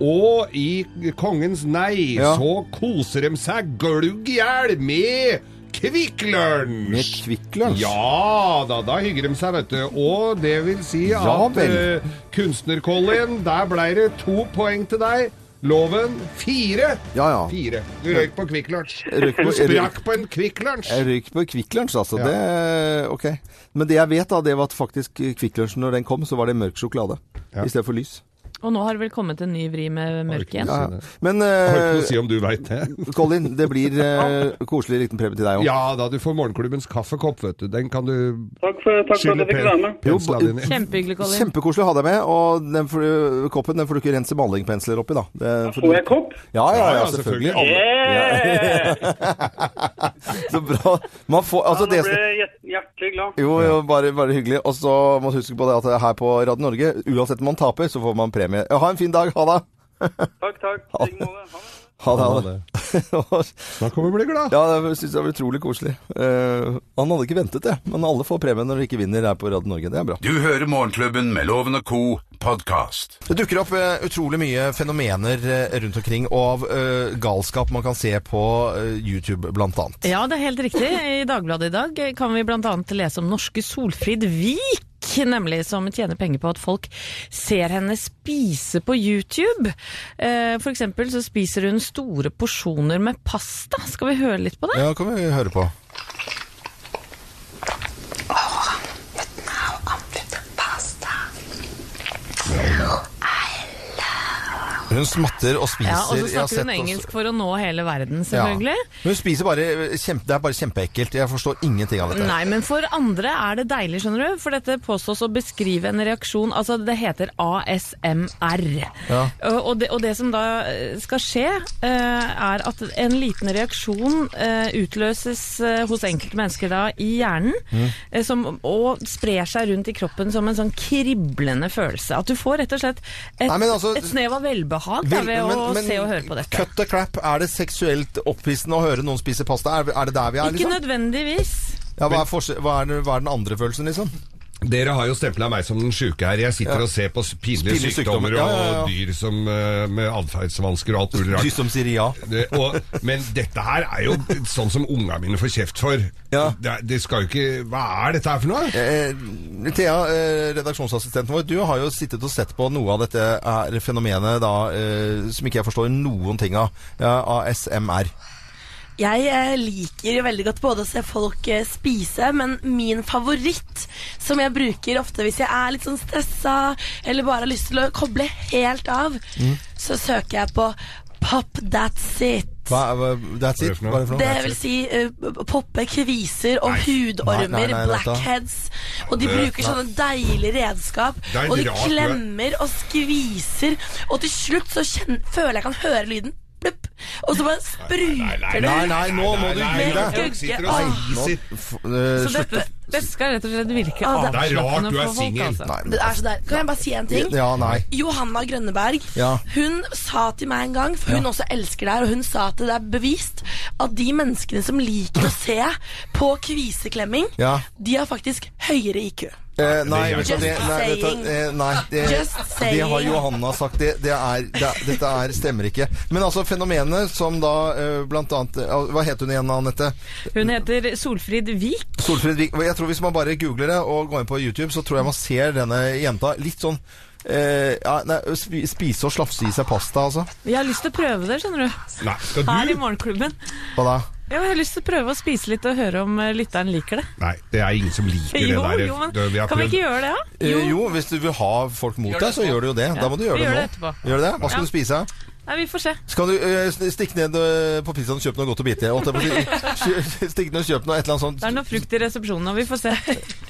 Og i Kongens nei
Ja.
så koser de seg glugg i hjel med Kvikk
Med
Lunsj!
Kvikk Lunsj?
Ja da, da hygger de seg, vet du. Og det vil si at
Ja vel.
eh, kunstnerkollen, der blei det to poeng til deg. Loven fire.
Ja, ja.
Fire. Du røyk på Kvikk Lunsj.
Røyk på-
Du sprakk på en Kvikk Lunsj.
Jeg røyk på Kvikk Lunsj, altså.
Ja.
Det, ok. Men det jeg vet, da, det var at faktisk Kvikk Lunsjen, når den kom, så var det mørk sjokolade
Ja.
i stedet for lys.
Og nå har det vel kommet en ny vri med mørk igjen?
Ja, ja. Men
Jeg Har ikke
eh,
noe å si om du veit det.
Colin, det blir eh, koselig liten premie til deg òg.
Ja da, du får morgenklubbens kaffekopp, vet du. Den kan du
Takk for, takk for at
skylle
jeg fikk være
pen
med.
pensla din i.
Kjempehyggelig, Colin.
Kjempekoselig å ha deg med, og den får du, koppen den får du ikke rense malingpensler oppi, da. Det, får du-
Får jeg kopp?
Ja, ja, ja,
Ja, ja,
selvfølgelig.
selvfølgelig.
Yeah!
Så bra. Man får,
Ja,
altså,
nå
det,
ble jeg hjert- hjertelig glad.
jo, jo, bare, bare hyggelig. Og så må du huske på det at her på Radio Norge, uansett om man taper, så får man premie. Ja, Ha en fin dag. Ha det.
Takk, takk. I like måte. Ha det.
Ha
Ha det. Ha det.
det. Da kommer du bli glad.
ja, det syns jeg var utrolig koselig. Eh, han hadde ikke ventet det, men alle får premie når de ikke vinner her på Radio Norge. Det er bra.
Du hører Morgenklubben med Loven og Co. podkast.
Det dukker opp eh, utrolig mye fenomener eh, rundt omkring, og av eh, galskap man kan se på eh, YouTube, blant annet.
Ja, det er helt riktig. I Dagbladet i dag kan vi bl.a. lese om norske Solfrid Vik. Nemlig som tjener penger på at folk ser henne spise på YouTube. Eh, For eksempel så spiser hun store porsjoner med pasta. Skal vi høre litt på det?
Ja, kan vi høre på. Hun smatter og spiser.
Ja, Og så
Jeg har
snakker hun
sett også-
engelsk for å nå hele verden,
Ja.
selvfølgelig.
Men Hun spiser bare kjempe, Det er bare kjempeekkelt. Jeg forstår ingenting av dette.
Nei, men for andre er det deilig, skjønner du. For dette påstås å beskrive en reaksjon Altså, det heter ASMR.
Ja.
Og, og, det, og det som da eh, skal skje, eh, er at en liten reaksjon eh, utløses eh, hos enkelte mennesker da i hjernen,
Mm.
eh, som, og sprer seg rundt i kroppen som en sånn kriblende følelse. At du får rett og slett et,
Nei, men altså-
et snev av velbehag da,
Vil-
ved
men-
å
men
se og høre på dette.
Cut the crap. Er det seksuelt opphissende å høre noen spise pasta? Er, er det der vi er,
Ikke
liksom?
nødvendigvis.
Ja, hva, er forskjell- hva, er, den- hva er den andre følelsen, liksom?
Dere har jo stempla meg som den sjuke her. Jeg sitter og ser på s- pinlige
Pinlige sykdommer,
sykdommer
ja, ja, ja.
og dyr som, eh, med atferdsvansker og alt mulig
Du
rart.
som sier ja.
Det- og, men dette her er jo sånn som unga mine får kjeft for.
Ja.
Det, er- det skal jo ikke Hva er dette her for noe?
Eh, Thea, eh, redaksjonsassistenten vår, du har jo sittet og sett på noe av dette her fenomenet da, eh, som ikke jeg forstår noen ting av. Ja, ASMR.
Jeg eh, liker jo veldig godt både å se folk eh, spise, men min favoritt, som jeg bruker ofte hvis jeg er litt sånn stressa eller bare har lyst til å koble helt av,
Mm.
så søker jeg på Pop that's it.
Hva, hva, that's it? Hva er det for noe?
Det vil si eh, poppe kviser og hudormer,
Nei, nei, nei, dette-
blackheads. Og de bruker sånne deilige redskap.
er litt
Og de
rart, men-
klemmer og skviser. Og til slutt så kjen- føler jeg kan høre lyden. Plupp. Og så bare spruter det
Nei,
ut.
nei, nå må du
Nei,
gi
nei,
deg.
nei, folk sitter og
Nei,
Nå,
spiser.
f eh,
Så
slutt.
dette, dette skal rett og slett virke
Ah, det-
Det er rart
avslappende
du er
for folk.
singel.
Altså.
Det er så der. Kan jeg bare si en ting?
Ja, nei.
Johanna Grønneberg
Ja.
Hun sa til meg en gang, for hun også elsker det her, og hun sa at det er bevist at de menneskene som liker å se på kviseklemming,
Ja.
de har faktisk høyere IQ.
Eh, nei,
Just
vet du hva, det, nei, vet du hva,
saying.
eh, nei det,
Just
det har
saying.
Johanna sagt. Det, det er, det, er- dette er, stemmer ikke. Men altså, fenomenet som da eh, blant annet eh, Hva het hun igjen, Anette?
Hun heter Solfrid Vik.
Solfrid Vik. Jeg tror Hvis man bare googler det og går inn på YouTube, så tror jeg man ser denne jenta litt sånn eh, ja, nei, spi- Spise og slafse i seg pasta, altså.
Jeg har lyst til å prøve det, skjønner du.
Nei, skal
Her i
du?
Morgenklubben.
Hva da?
Ja, jeg har lyst til å prøve å spise litt og høre om eh, lytteren liker det.
Nei, det er ingen som liker
Jo,
det der.
jo, men
Det- vi har
kan vi
prøvd.
ikke gjøre det, da?
Eh, jo, hvis du vil ha folk mot deg, så gjør du jo det. Da må du gjøre
vi
det nå.
gjør det etterpå.
Gjør du det? Hva skal
Ja.
du spise?
Nei, vi får se.
Skal du eh, st- stikke ned eh, på pizzaen og kjøpe noe godt å bite i? Holdt jeg på å si. Kjø- Stikk ned og kjøp noe et eller annet
Det er
sånt.
noe frukt i resepsjonen, og vi får se.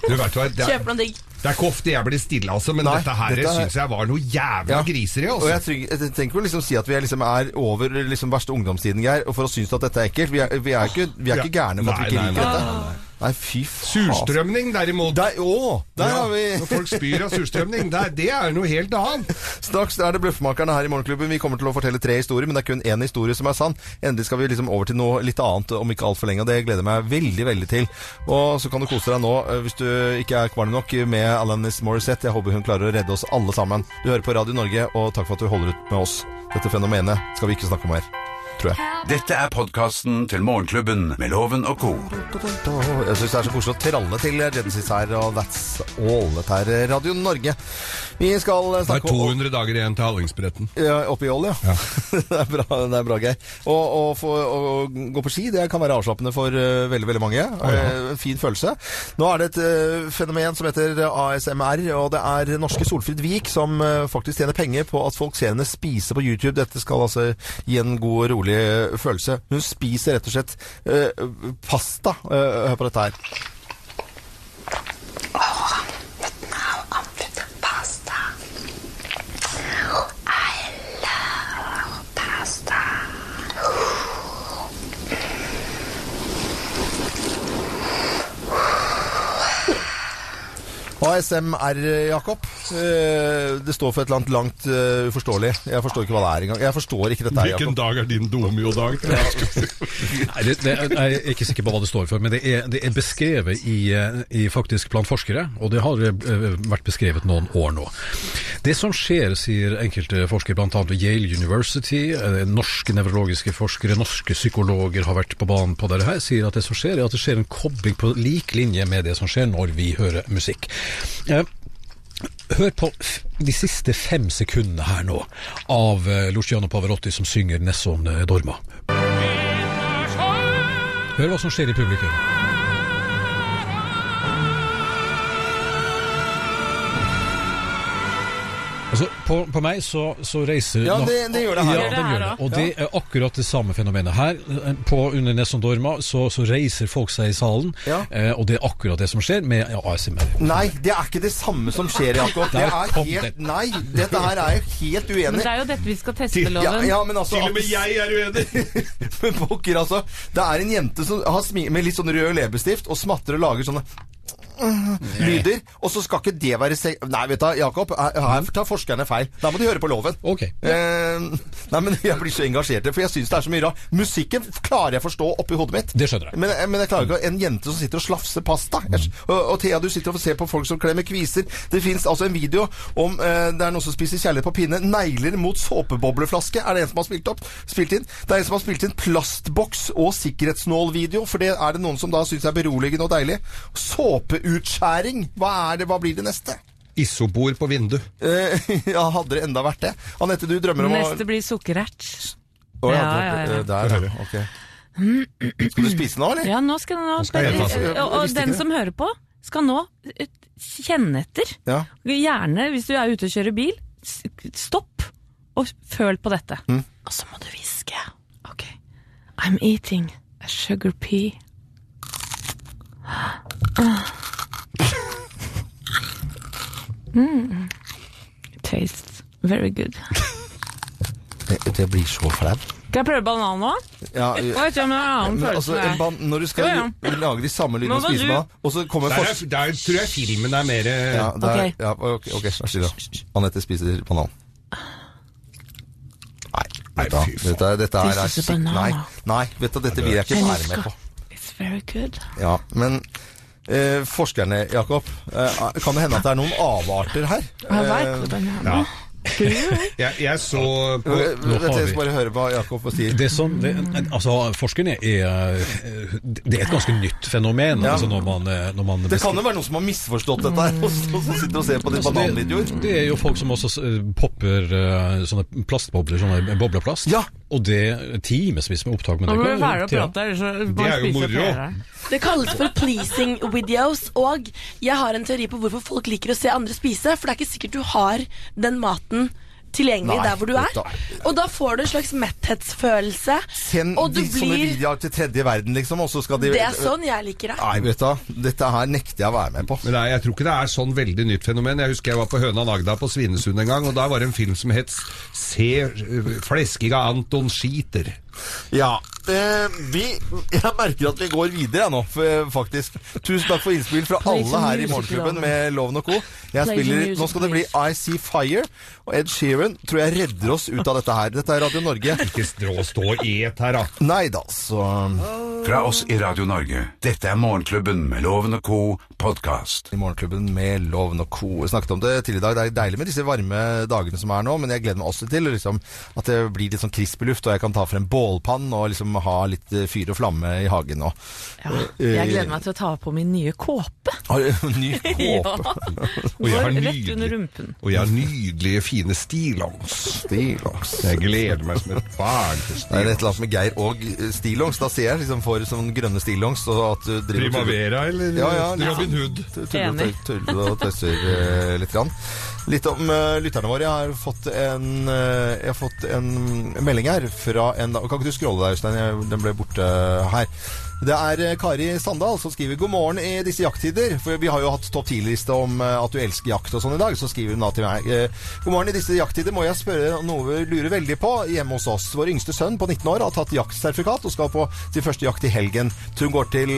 Du vet hva, det er,
Kjøper noe digg.
det er ikke ofte jeg blir stille, altså, men
Nei,
dette her
dette er-
syns jeg var noe jævla
Ja.
griseri,
Og jeg,
altså.
trygg, jeg tenker jo liksom si at vi er, liksom er over liksom verste ungdomstiden, Geir, og for å synes at dette er ekkelt. Vi er, vi er ikke, vi er ikke
Ja.
gærne for at vi
Nei,
ikke
nei,
liker
nei,
dette.
nei, nei.
Nei, fy faen.
Surstrømning, derimot.
Der, å, der
Ja,
har vi
Når folk spyr av surstrømning, det er, det er noe helt annet.
Straks er det Bløffmakerne her i Morgenklubben. Vi kommer til å fortelle tre historier, men det er kun én historie som er sann. Endelig skal vi liksom over til noe litt annet om ikke altfor lenge, og det gleder jeg meg veldig, veldig til. Og så kan du kose deg nå, eh, hvis du ikke er kvalm nok, med Alanis Morissette. Jeg håper hun klarer å redde oss alle sammen. Du hører på Radio Norge, og takk for at du holder ut med oss. Dette fenomenet skal vi ikke snakke om her, tror jeg.
Dette er podkasten til Morgenklubben med Loven og co.
Jeg syns det er så koselig å tralle til Genesis her, og that's all. Dette er Radio Norge. Vi skal eh,
Det er
snakke om
200 dager igjen til Hallingsbretten.
Ja, Oppe i Ål, ja. det, er bra, det er bra, Geir. Og, og få- å- å gå på ski det kan være avslappende for eh, veldig veldig mange. Eh, fin følelse. Nå er det et eh, fenomen som heter eh, ASMR, og det er norske Solfrid Vik som eh, faktisk tjener penger på at folk ser henne spise på YouTube. Dette skal altså gi en god, rolig eh, følelse. Hun spiser rett og slett eh, pasta. Eh, hør på dette her. ASMR, Jakob. Eh, det står for et eller annet langt eh, uforståelig. Jeg forstår ikke hva det er engang. Jeg forstår ikke dette her, Jakob.
Hvilken dag er din domio-dag?
Nei, det, det, er- jeg er ikke sikker på hva det står for, men det er, det er beskrevet i, eh, i faktisk blant forskere, og det har eh, vært beskrevet noen år nå. Det som skjer, sier enkelte forskere, bl.a. ved Yale University, eh, norske nevrologiske forskere, norske psykologer har vært på banen på dette her, sier at det som skjer, er at det skjer en kobling på lik linje med det som skjer når vi hører musikk. Eh, Hør på f- de siste fem sekundene her nå av eh, Luciano Pavarotti som synger Nesson eh, Dorma. Hør hva som skjer i publikum. Altså, på, på meg så, så reiser
Ja,
nå-
det- det gjør det her
Ja,
også.
den gjør det. Og det er akkurat det samme fenomenet her. eh, På Under Nesson Dorma så, så reiser folk seg i salen,
Ja.
eh, og det er akkurat det som skjer med ASMR.
Nei, det er ikke det samme som skjer, Jakob. Det
Der
er
kom
helt,
den.
nei, dette her er jeg helt
Men
uenig
det
i.
er jo dette vi skal teste,
Ja,
Loven.
ja, men altså
jeg er uenig!
Men pokker, altså. Det er en jente som har smi med litt sånn rød leppestift og smatter og lager sånne lyder. Og så skal ikke det være se... Nei, vet du, Jakob. Her her tar forskerne feil. Da må de høre på loven.
Ok.
Eh, nei, men jeg blir så engasjert, i det, for jeg syns det er så mye rart. Musikken klarer jeg å forstå oppi hodet mitt.
Det skjønner jeg. Mm.
Men, men jeg klarer ikke å- en jente som sitter og slafser pasta. Jeg skj- Og, og Thea, du sitter og ser på folk som klemmer kviser. Det fins altså en video om eh, det er noen som spiser kjærlighet på pinne. Negler mot såpebobleflaske er det en som har spilt, opp, spilt inn. Det er en som har spilt inn plastboks og sikkerhetsnålvideo, for det er det noen som da syns er beroligende og deilig. Såpeutskjæring, hva er det, hva blir det neste?
Isobor på vindu.
Eh, ja, hadde det enda vært det? Anette, du drømmer om
Neste blir sukkerert.
Å, ja,
Ja,
det-
ja, ja.
eh, Der, ja. Ok. Skal du spise nå, eller?
Ja, nå skal den nå, Eh,
skal jeg ta
seg.
og, og den som hører på, skal nå eh, kjenne etter.
Ja.
Gjerne, hvis du er ute og kjører bil, s- stopp og føl på dette.
Mm.
Og så må du hviske. Ok. I'm eating a sugar pea. Mm. Tastes very good.
Det, det blir så flaut.
Skal jeg prøve banan nå?
Ja,
Jeg vet ikke om jeg har en annen
Men altså,
følelse.
en ban når du skal
Ja,
lage de samme lydene
Nå
og
må
spise
du-
med, og så kommer
Der, er,
forskjell...
der tror jeg filmen er mer
Ja, der,
Ok.
ja, ok, ok, vær så snill. Anette spiser banan. Nei, vet du hva,
fy faen.
dette, er- dette her er
Spiser
skikk-
banan,
Nei,
da.
nei, vet du, dette vil jeg ikke
Jeg
være med
elsker.
på.
It's very good.
Ja, men eh, forskerne, Jakob, eh, kan det hende at det er noen avarter her?
I like the banana.
ja. jeg, jeg så på
Eh,
Nå
Vet
har
du, jeg
vi-
skal bare høre hva Jakob sier.
Det som, det, altså, forskerne er Det er et ganske nytt fenomen.
Ja.
Altså når man, eh, når man
Det kan
beskri-
jo være noen som har misforstått dette her, og så- og så sitter og ser på de
Altså,
bananvideoer.
det, det er jo folk som også eh, popper eh, sånne plastbobler, sånne bobleplast.
Ja.
Og det er timevis med opptak. Men
Nå
det
må vi
kan jo-
være og
Thea,
prate, ellers så
Det
bare
er jo
spiser
moro.
flere.
Det kalles for pleasing videos, og jeg har en teori på hvorfor folk liker å se andre spise, for det er ikke sikkert du har den maten tilgjengelig
Nei,
der hvor du er.
dette-
Og da får du en slags metthetsfølelse,
Send
og du
de, sånne
blir
videoer til tredje verden, liksom, og så skal de
Det er sånn jeg liker det.
Nei, vet du, hva, dette her nekter jeg å være med på.
Men nei, jeg tror ikke det er sånn veldig nytt fenomen. Jeg husker jeg var på Høna Nagda på Svinesund en gang, og da var det en film som het Se eh, fleskinga øh, Anton skiter.
Ja. Eh, vi, jeg merker at vi går videre jeg, nå, f- faktisk. Tusen takk for innspill fra
Play
alle
some
her i
music,
Morgenklubben
Loven.
med Loven og Co. Jeg
Play
spiller,
some music,
nå skal det bli I See Fire, og Ed Sheeran tror jeg redder oss ut av dette her. Dette er Radio Norge.
Ikke stå og et her, da.
Nei da, så
Fra oss i Radio Norge, dette er Morgenklubben med Loven og Co. podkast.
I Morgenklubben med Loven og Co. Jeg snakket om det tidligere i dag. Det er deilig med disse varme dagene som er nå, men jeg gleder meg også til liksom, at det blir litt sånn krisp i luft, og jeg kan ta frem bålpann og liksom ha litt eh, fyr og flamme i hagen nå.
Jeg gleder meg til å ta på min nye kåpe.
Har du ny
Ja.
kåpe?
Og jeg har
Rett under rumpen.
Og jeg har nydelige, fine stillongs.
Stillongs.
Jeg gleder meg som et barn til
Det er et
stillongs.
eller annet med Geir og eh, stillongs. Da ser jeg liksom for sånn grønne stillongs. Og at du driver
Primavera eller
ja, ja, litt
Robin
sånn
Hood?
tu- Tuller og,
Enig.
tøy- tuller og tøyser eh, litt. Grann. Litt om eh, lytterne våre. Jeg har fått en, eh, jeg har fått en melding her fra en da- Kan ikke du scrolle deg, Øystein? Jeg- Den ble borte her. Det er eh, Kari Sandal som skriver god morgen i disse jakttider. For vi har jo hatt topp 10-liste om eh, at du elsker jakt og sånn i dag. Så skriver hun da til meg eh, God morgen, i disse jakttider må jeg spørre om noe vi lurer veldig på hjemme hos oss. Vår yngste sønn på 19 år har tatt jaktsertifikat og skal på sin første jakt i helgen. Hun går til,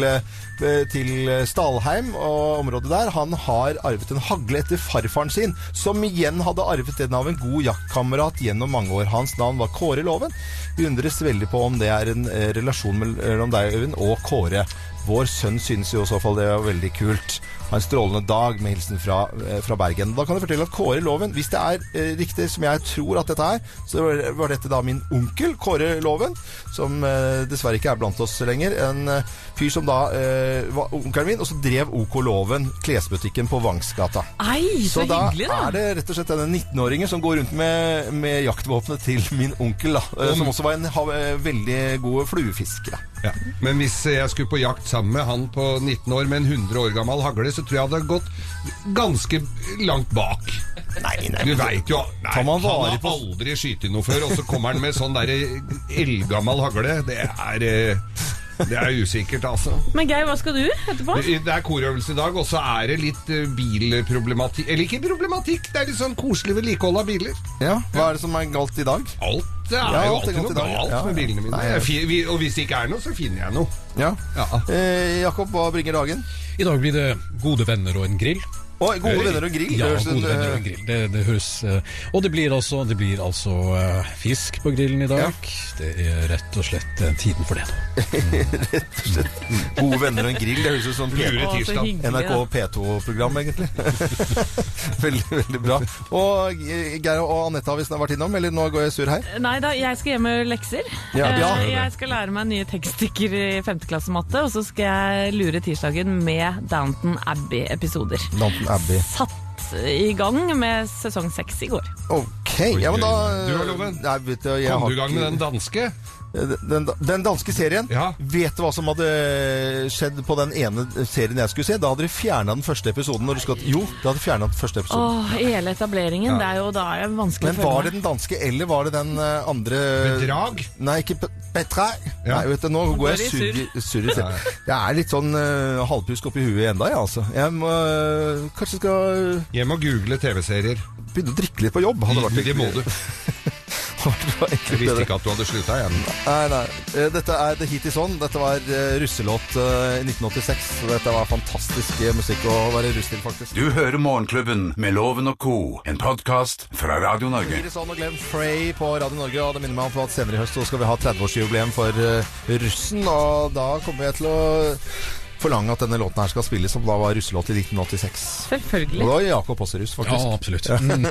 eh, til Stalheim og området der. Han har arvet en hagle etter farfaren sin, som igjen hadde arvet den av en god jaktkamerat gjennom mange år. Hans navn var Kåre Loven. Vi undres veldig på om det er en eh, relasjon mellom deg, Øyvind, og Kåre. Vår sønn synes jo i så fall det var veldig kult. Ha en strålende dag med hilsen fra, eh, fra Bergen. Da kan jeg fortelle at Kåre Loven, hvis det er eh, riktig som jeg tror at dette er, så var- var dette da min onkel Kåre Loven, som eh, dessverre ikke er blant oss lenger. En eh, fyr som da eh, var onkelen min, og så drev OK Loven, klesbutikken på Vangsgata.
Ei, så, hyggelig, da!
er det rett og slett denne 19-åringen som går rundt med, med jaktvåpenet til min onkel, da. eh, Som også var en ha, eh, veldig god fluefisker. da.
Ja. Men hvis jeg skulle på jakt sammen med han på 19 år med en 100 år gammel hagle, så tror jeg jeg hadde gått ganske langt bak.
Nei,
Du veit jo nei,
Tar man
Han
vare
har
på-
aldri skutt noe før, og så kommer han med sånn derre eldgammel hagle. Det er eh, Det er usikkert, altså.
Men Geir, hva skal du etterpå?
Det det er korøvelse i dag, og så er det litt eh, bilproblematikk Eller ikke problematikk, det er litt sånn koselig vedlikehold av biler.
Ja, hva er det som er galt i dag?
Alt. Det er
Ja,
jo
alt er
alltid
galt i
noe
dag, ja.
galt
Ja,
med
ja.
bilene mine.
Nei, ja.
Jeg fi- vi- Og hvis det ikke er noe, så finner jeg noe.
Ja.
Ja.
Eh, Jakob, hva bringer dagen?
I dag blir det gode venner og en grill.
Å,
Eh,
gode venner og grill.
Ja,
Høres
gode
ut,
venner og
eh,
en grill. Det, det høres eh, Og det blir altså, det blir altså eh, fisk på grillen i dag. Det er rett og slett eh, tiden for det nå.
Rett og slett. eh, Gode venner og en grill. Det høres ut som
Lure Å, så tirsdag. hyggelig,
NRK P2-program, egentlig. veldig, veldig bra. Og eh, Geir og Anette har vi snart vært innom, eller nå går jeg sur her?
Nei da, jeg skal hjem med lekser.
Ja,
Eh,
ja.
Jeg skal lære meg nye tekststykker i 5. klasse matte, og så skal jeg lure tirsdagen med Downton Abbey-episoder.
Downton Abbey.
Satt i gang med sesong seks i går.
OK. Ja, men da
Du har loven.
Nei, vet du, jeg
Kom
har
du i gang med
ikke- Eh,
den danske?
Den, den danske serien.
Ja.
Vet du hva som hadde skjedd på den ene serien jeg skulle se? Da hadde de fjerna den første episoden. Når du skulle... Jo, de hadde fjerna den første episoden.
Åh, hele etableringen. Det er jo da er det vanskelig
Sånn. Men var det
meg.
den danske, eller var det den eh, andre
Bedrag?
Nei, ikke Pe- Bedrag.
Ja.
Nei, vet du, nå går jeg
Da er de
surr i- surr i selv. Jeg er litt sånn uh, halvpjusk oppi huet ennå, jeg, altså. Jeg må, eh, kanskje skal
Jeg må google TV-serier.
begynne å drikke litt på jobb. Hadde vært
Det må du. Jeg
egentlig
visste
bedre.
ikke at du hadde slutta igjen.
Nei, nei. Eh, Dette er The Hit Is On. Dette var eh, russelåt eh, i 1986. Dette var fantastisk eh, musikk å være russ til, faktisk.
Du hører Morgenklubben med Loven og Co., en podkast fra Radio Norge.
Iris Ann og sånn Glenn Frey på Radio Norge, og det minner meg om at senere i høst så skal vi ha 30-årsjubileum for eh, russen, og da kommer jeg til å forlange at denne låten her skal spilles, som da var russelåt i 1986. Og
Selvfølgelig.
da var Jakob også russ,
Ja,
faktisk.
absolutt.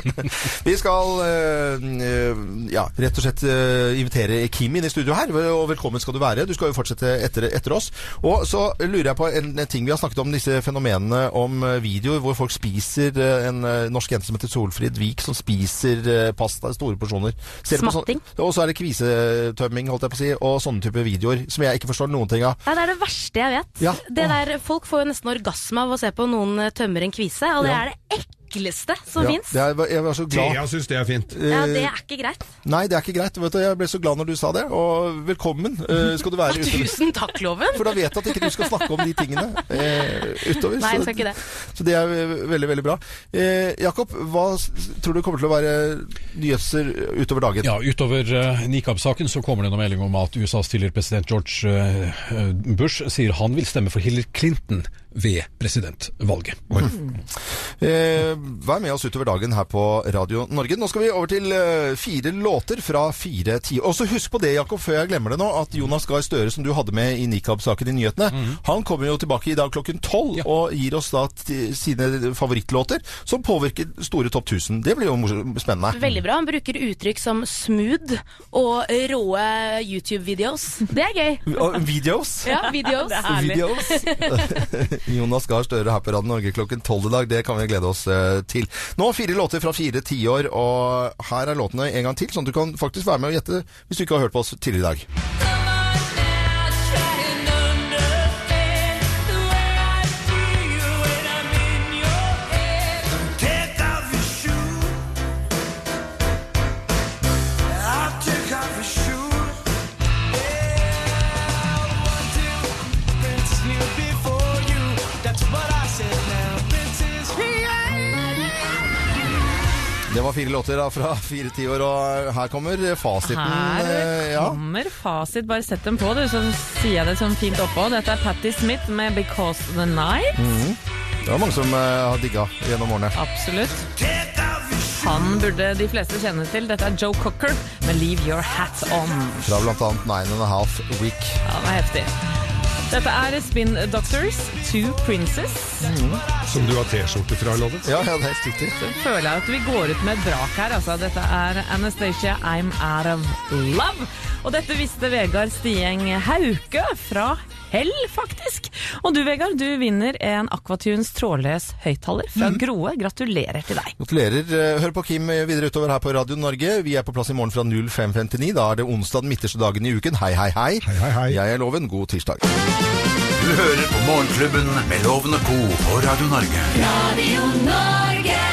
Vi skal eh, eh, ja, rett og slett eh, invitere Kim inn i studio her, og velkommen skal du være. Du skal jo fortsette etter, etter oss. Og så lurer jeg på en, en ting vi har snakket om, disse fenomenene om eh, videoer hvor folk spiser eh, en eh, norsk jente som heter Solfrid Vik, som spiser eh, pasta i store porsjoner. Ser du på
Smatting.
Sånn, og så er det kvisetømming, holdt jeg på å si, og sånne typer videoer som jeg ikke forstår noen ting av.
Ja, det er det verste jeg vet.
Ja.
Det der, folk får jo nesten orgasme av å se på noen eh, tømmer en kvise, og det
Ja.
er det
ekleste som
Ja,
fins.
det er- jeg var så glad.
Thea syns det er fint.
Ja, det er ikke greit.
Nei, det er ikke greit. Vet du, jeg ble så glad når du sa det. Og velkommen eh, skal du være utover.
Tusen takk, Loven.
For da vet jeg at ikke du skal snakke om de tingene eh, utover.
Nei, jeg
så,
skal ikke det.
så det er eh, veldig, veldig bra. Eh, Jakob, hva s- tror du kommer til å være nyhetser utover dagen?
Ja, utover eh, nikab-saken så kommer det en melding om at USAs tidligere president George eh, eh, Bush sier han vil stemme for Hillary Clinton ved presidentvalget.
Eh, vær med oss utover dagen her på Radio Norge. Nå skal vi over til eh, fire låter fra fire tiår. Og så husk på det, Jakob, før jeg glemmer det nå, at Jonas Gahr Støre, som du hadde med i nikab-saken i nyhetene, han kommer jo tilbake i dag klokken tolv og gir oss da t sine favorittlåter som påvirker store topp 1000. Det blir jo mors- spennende.
Veldig bra. Han bruker uttrykk som smooth og råe YouTube-videoers. Det er gøy.
Og Videos?
Ja, videos.
Jonas Gahr Støre her på Radio Norge klokken tolv i dag. Det kan vi glede oss eh, til. Nå fire låter fra fire tiår, og her er låtene en gang til, sånn at du kan faktisk være med og gjette hvis du ikke har hørt på oss tidligere i dag.
Take off your shoes. I'll take off your shoes. Yeah, I want to rinse you before you. That's what I said now. This is
Det var fire låter da, fra fire tiår, og her kommer fasiten. eh,
Her
ja.
kommer fasit. Bare sett dem på, du, så sier jeg det sånn fint oppå. Dette er Patti Smith med 'Because the Night'.
Mhm. Det var mange som eh, har digga gjennom årene.
Absolutt. Han burde de fleste kjenne til. Dette er Joe Cocker med 'Leave Your Hat On'.
Fra blant annet Nine and a Half Week.
Ja, det er heftig. Dette er Spin Doctors, Two Princes.
Som du har T-skjorte fra, Loven.
Ja, ja, det er helt riktig.
Føler jeg at vi går ut med et brak her, altså. Dette er Anastacia, I'm Out of Love. Og dette visste Vegard Stieng Hauke fra Hell, faktisk. Og du, Vegard, du vinner en Aquatunes trådløs høyttaler fra Groe. Gratulerer til deg.
Gratulerer. Eh, Hør på Kim videre utover her på Radio Norge. Vi er på plass i morgen fra 05.59. Da er det onsdag den midterste dagen i uken. Hei, hei, hei. Jeg er Loven. God tirsdag.
Du hører på Morgenklubben med Loven og Co. på Radio Norge.
Radio Norge.